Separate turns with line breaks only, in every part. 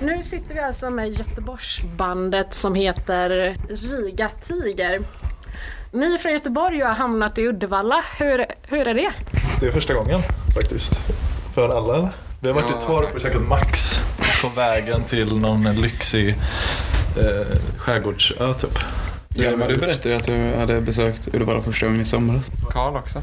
Nu sitter vi alltså med Göteborgsbandet som heter Riga Tiger. Ni från Göteborg har hamnat i Uddevalla. Hur, hur är det?
Det är första gången faktiskt. För alla eller? Vi har varit i Torp och käkat Max på vägen till någon lyxig eh, skärgårdsö typ.
Ja, men du berättade ju att du hade besökt Uddevalla första gången i somras.
Karl också.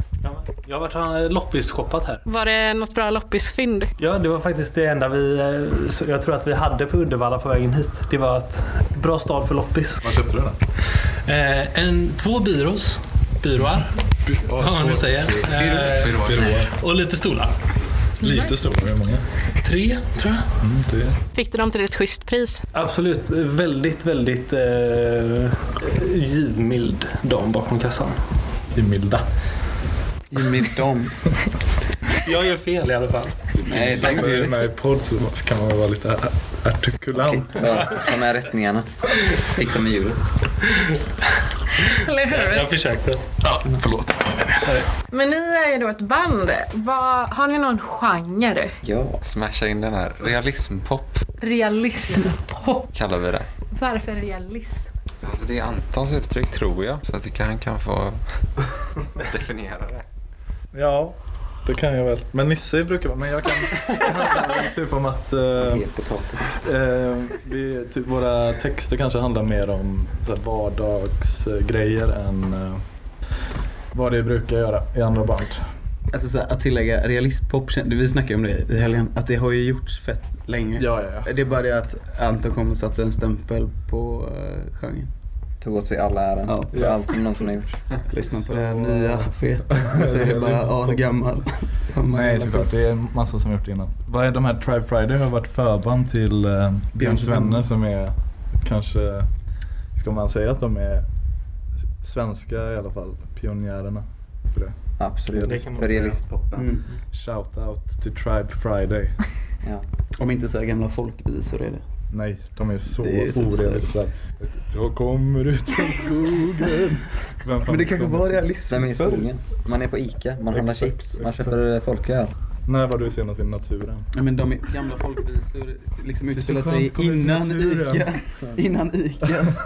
Jag har varit loppis-shoppat här.
Var det något bra loppisfynd?
Ja, det var faktiskt det enda vi, eh, så- jag tror att vi hade på Uddevalla på vägen hit. Det var ett bra stad för loppis.
Vad köpte du den?
Eh, en, två byrås. Byråar,
Ja,
vad man nu
svår.
säger. Eh,
Byråer.
och lite stolar.
Lite stora, hur många?
Tre, tror jag.
Mm, det.
Fick du dem till ett schysst pris?
Absolut, eh, väldigt, väldigt eh, givmild dam bakom kassan.
I milda.
I mitt dom.
Jag gör fel i alla fall.
Nej, den
När man är
går
med i podd så kan man väl vara lite artikulant.
Ja, ta med rättningarna. Fixa
Liksom
med hjulet.
Eller hur?
Jag försökte.
Men ni är ju då ett band. Vad- har ni någon genre?
Ja.
Smasha in den här. Realismpop
Realism?
kallar vi det.
Varför realism?
Alltså det är Antons uttryck tror jag. Så jag tycker han kan få definiera det.
Ja, det kan jag väl. Men Nisse brukar vara... Men jag kan... Det handlar väl typ om att... eh,
Het potatis.
Eh, vi, typ våra texter kanske handlar mer om så här vardagsgrejer än eh, vad det brukar göra i andra band.
Alltså så här, att tillägga realistpop, kän- vi snackade om det i helgen, att det har ju gjorts fett länge.
Ja, ja, ja.
Det är bara det att Anton kom och satte en stämpel på uh, genren.
tog åt sig alla äran
Ja.
för allt som någonsin har gjorts.
Lyssna på
Så-
det här nya, feta. Så är det bara asgammal. Samma
Nej,
jävla
såklart.
skit.
Det är en massa som har gjort det innan. Vad är de här Tribe Friday har varit förband till eh, Björns vänner som är kanske, ska man säga att de är s- svenska i alla fall, pionjärerna för det.
Absolut.
Det kan man
för
säga.
realistpoppen.
Mm.
Shout out till Tribe Friday.
Ja.
Om inte så här gamla folkvisor är det.
Nej, de är så
Det är ju typ
orealistiska. Jag kommer ut från skogen. Vem fan
Men det kanske
kommer
var
till-
realism
Vem är i
förr.
skogen? Man är på Ica, man handlar
Exakt,
chips, man
exakt.
köper eh, folköl.
När var du senast i naturen?
Ja, men de är- gamla folkvisor liksom
är så
utspelar
skönt
sig
att komma ut i
innan
naturen.
Ica, innan Ica s-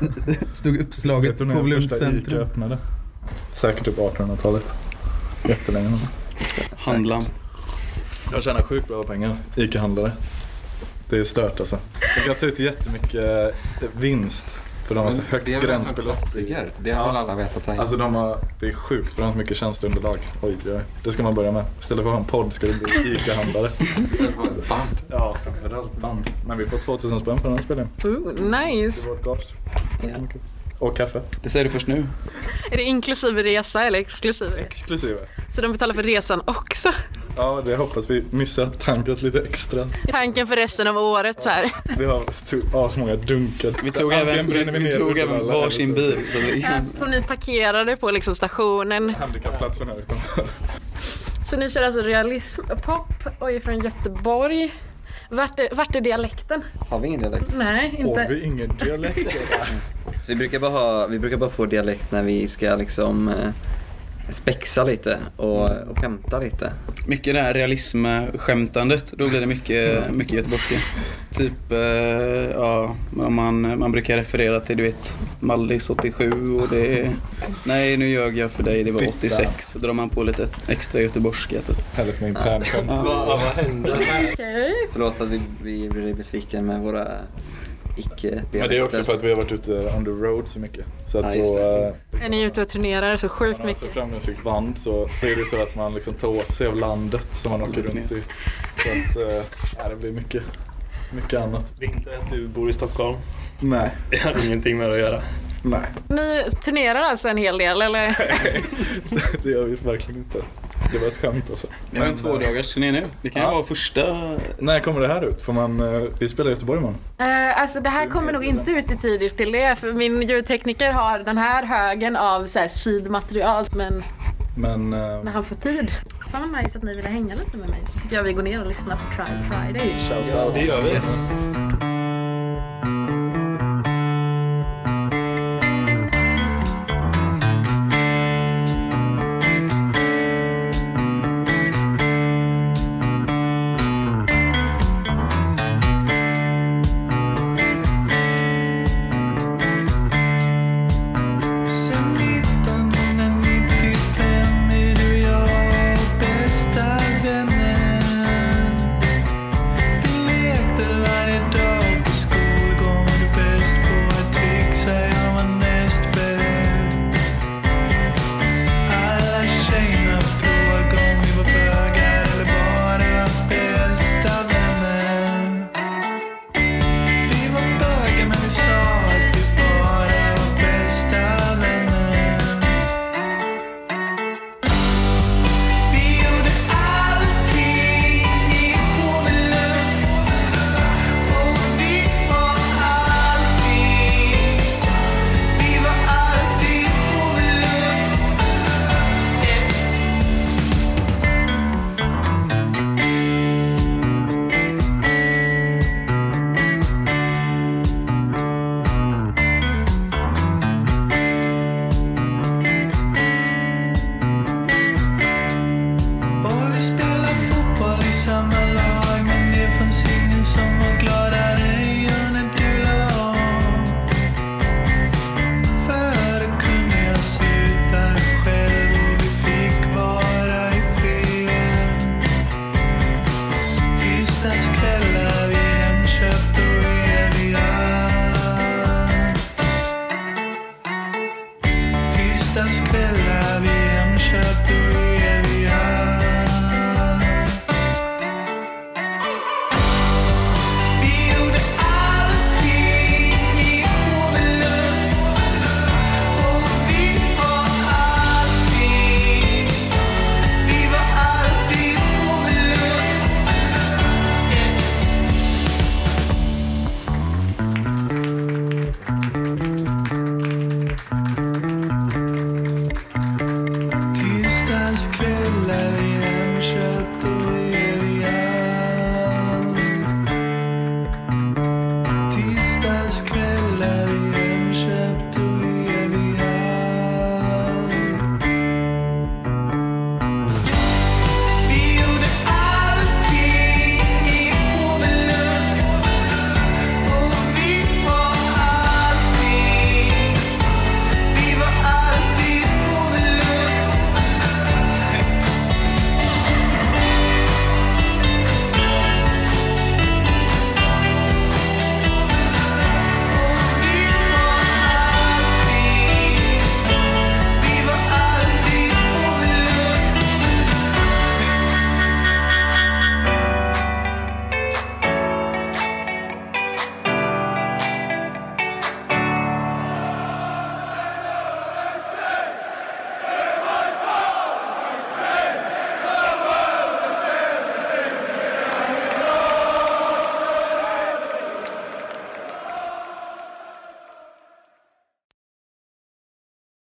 stod uppslaget
Vet du när
på
den
Lunds
första Ica
centrum.
öppnade? Säkert typ 1800-talet. Jättelänge sedan.
Handla.
Jag tjänar sjukt bra pengar. Ica-handlare. Det är stört alltså. De kan ta ut jättemycket eh, vinst. För de har så alltså, högt
det är väl en sån
gränsbelopp.
klassiker. Det har
Ja.
väl alla vetat länge.
Alltså de har, det är sjukt för de har så mycket tjänsteunderlag. Oj, oj, oj. Det ska man börja med. Istället för att ha en podd ska det bli Ica-handlare.
det var ett band.
Ja, framförallt band. Men vi får 2000 spänn för den här spelningen.
Ooh, nice!
Det var ett gage. Tack så mycket. Och kaffe.
Det säger du först nu.
Är det inklusive resa eller exklusive resa?
Exklusive.
Så de betalar för resan också?
Ja, det hoppas vi. Missa att tankat lite extra.
Tanken för resten av året så här.
Vi har to- asmånga dunkar.
Vi tog
Antingen
även, vi,
bränner
vi
ner
tog
Uddevalla
även varsin
eller så-
bil. Så det är,
Som ni parkerade på liksom stationen.
Handikappplatsen här utanför.
Så ni kör alltså realismpop och är från Göteborg. Vart är, vart är dialekten?
Har vi ingen dialekt?
Nej,
Har
inte.
vi ingen dialekt?
Så vi, brukar bara ha, vi brukar bara få dialekt när vi ska liksom eh, spexa lite och, och skämta lite.
mycket det här realism-skämtandet. Då blir det mycket, mycket göteborgska. Typ, eh, ja, man, man brukar referera till du vet Mallis 87 och det är, Nej, nu ljög jag för dig, det var 86. Så drar man på lite extra göteborgska typ.
Härligt med internskämt.
Okej.
Förlåt att vi, vi blir besviken med våra icke-dialekter.
Men det är också för att vi har varit ute on the road så mycket. Så att
Ja, just
då,
det.
eh,
Är ni ute och turnerar så sjukt
man har ett så
mycket?
framgångsrikt band så det är det så att man liksom tar åt sig av landet som man åker runt i. Så att eh, ja, det blir mycket, mycket annat.
Det är inte att du bor i Stockholm.
Nej,
Det har ingenting med det att göra.
nej.
Ni turnerar alltså en hel del eller?
Det gör vi verkligen inte. Det var ett skämt alltså.
Vi har en
Men,
två
eh,
dagars turné nu. Det kan ju
Ja.
vara första...
När kommer det här ut? Får man, eh, vi spelar i Göteborg imorgon.
Eh, alltså det här kommer nog inte ut i tid till det för min ljudtekniker har den här högen av så här sidmaterial men
Men eh,
när han får tid. Fan vad nice att ni ville hänga lite med mig så tycker jag vi går ner och lyssnar på Trial Friday.
shout out.
gör vi.
Yes.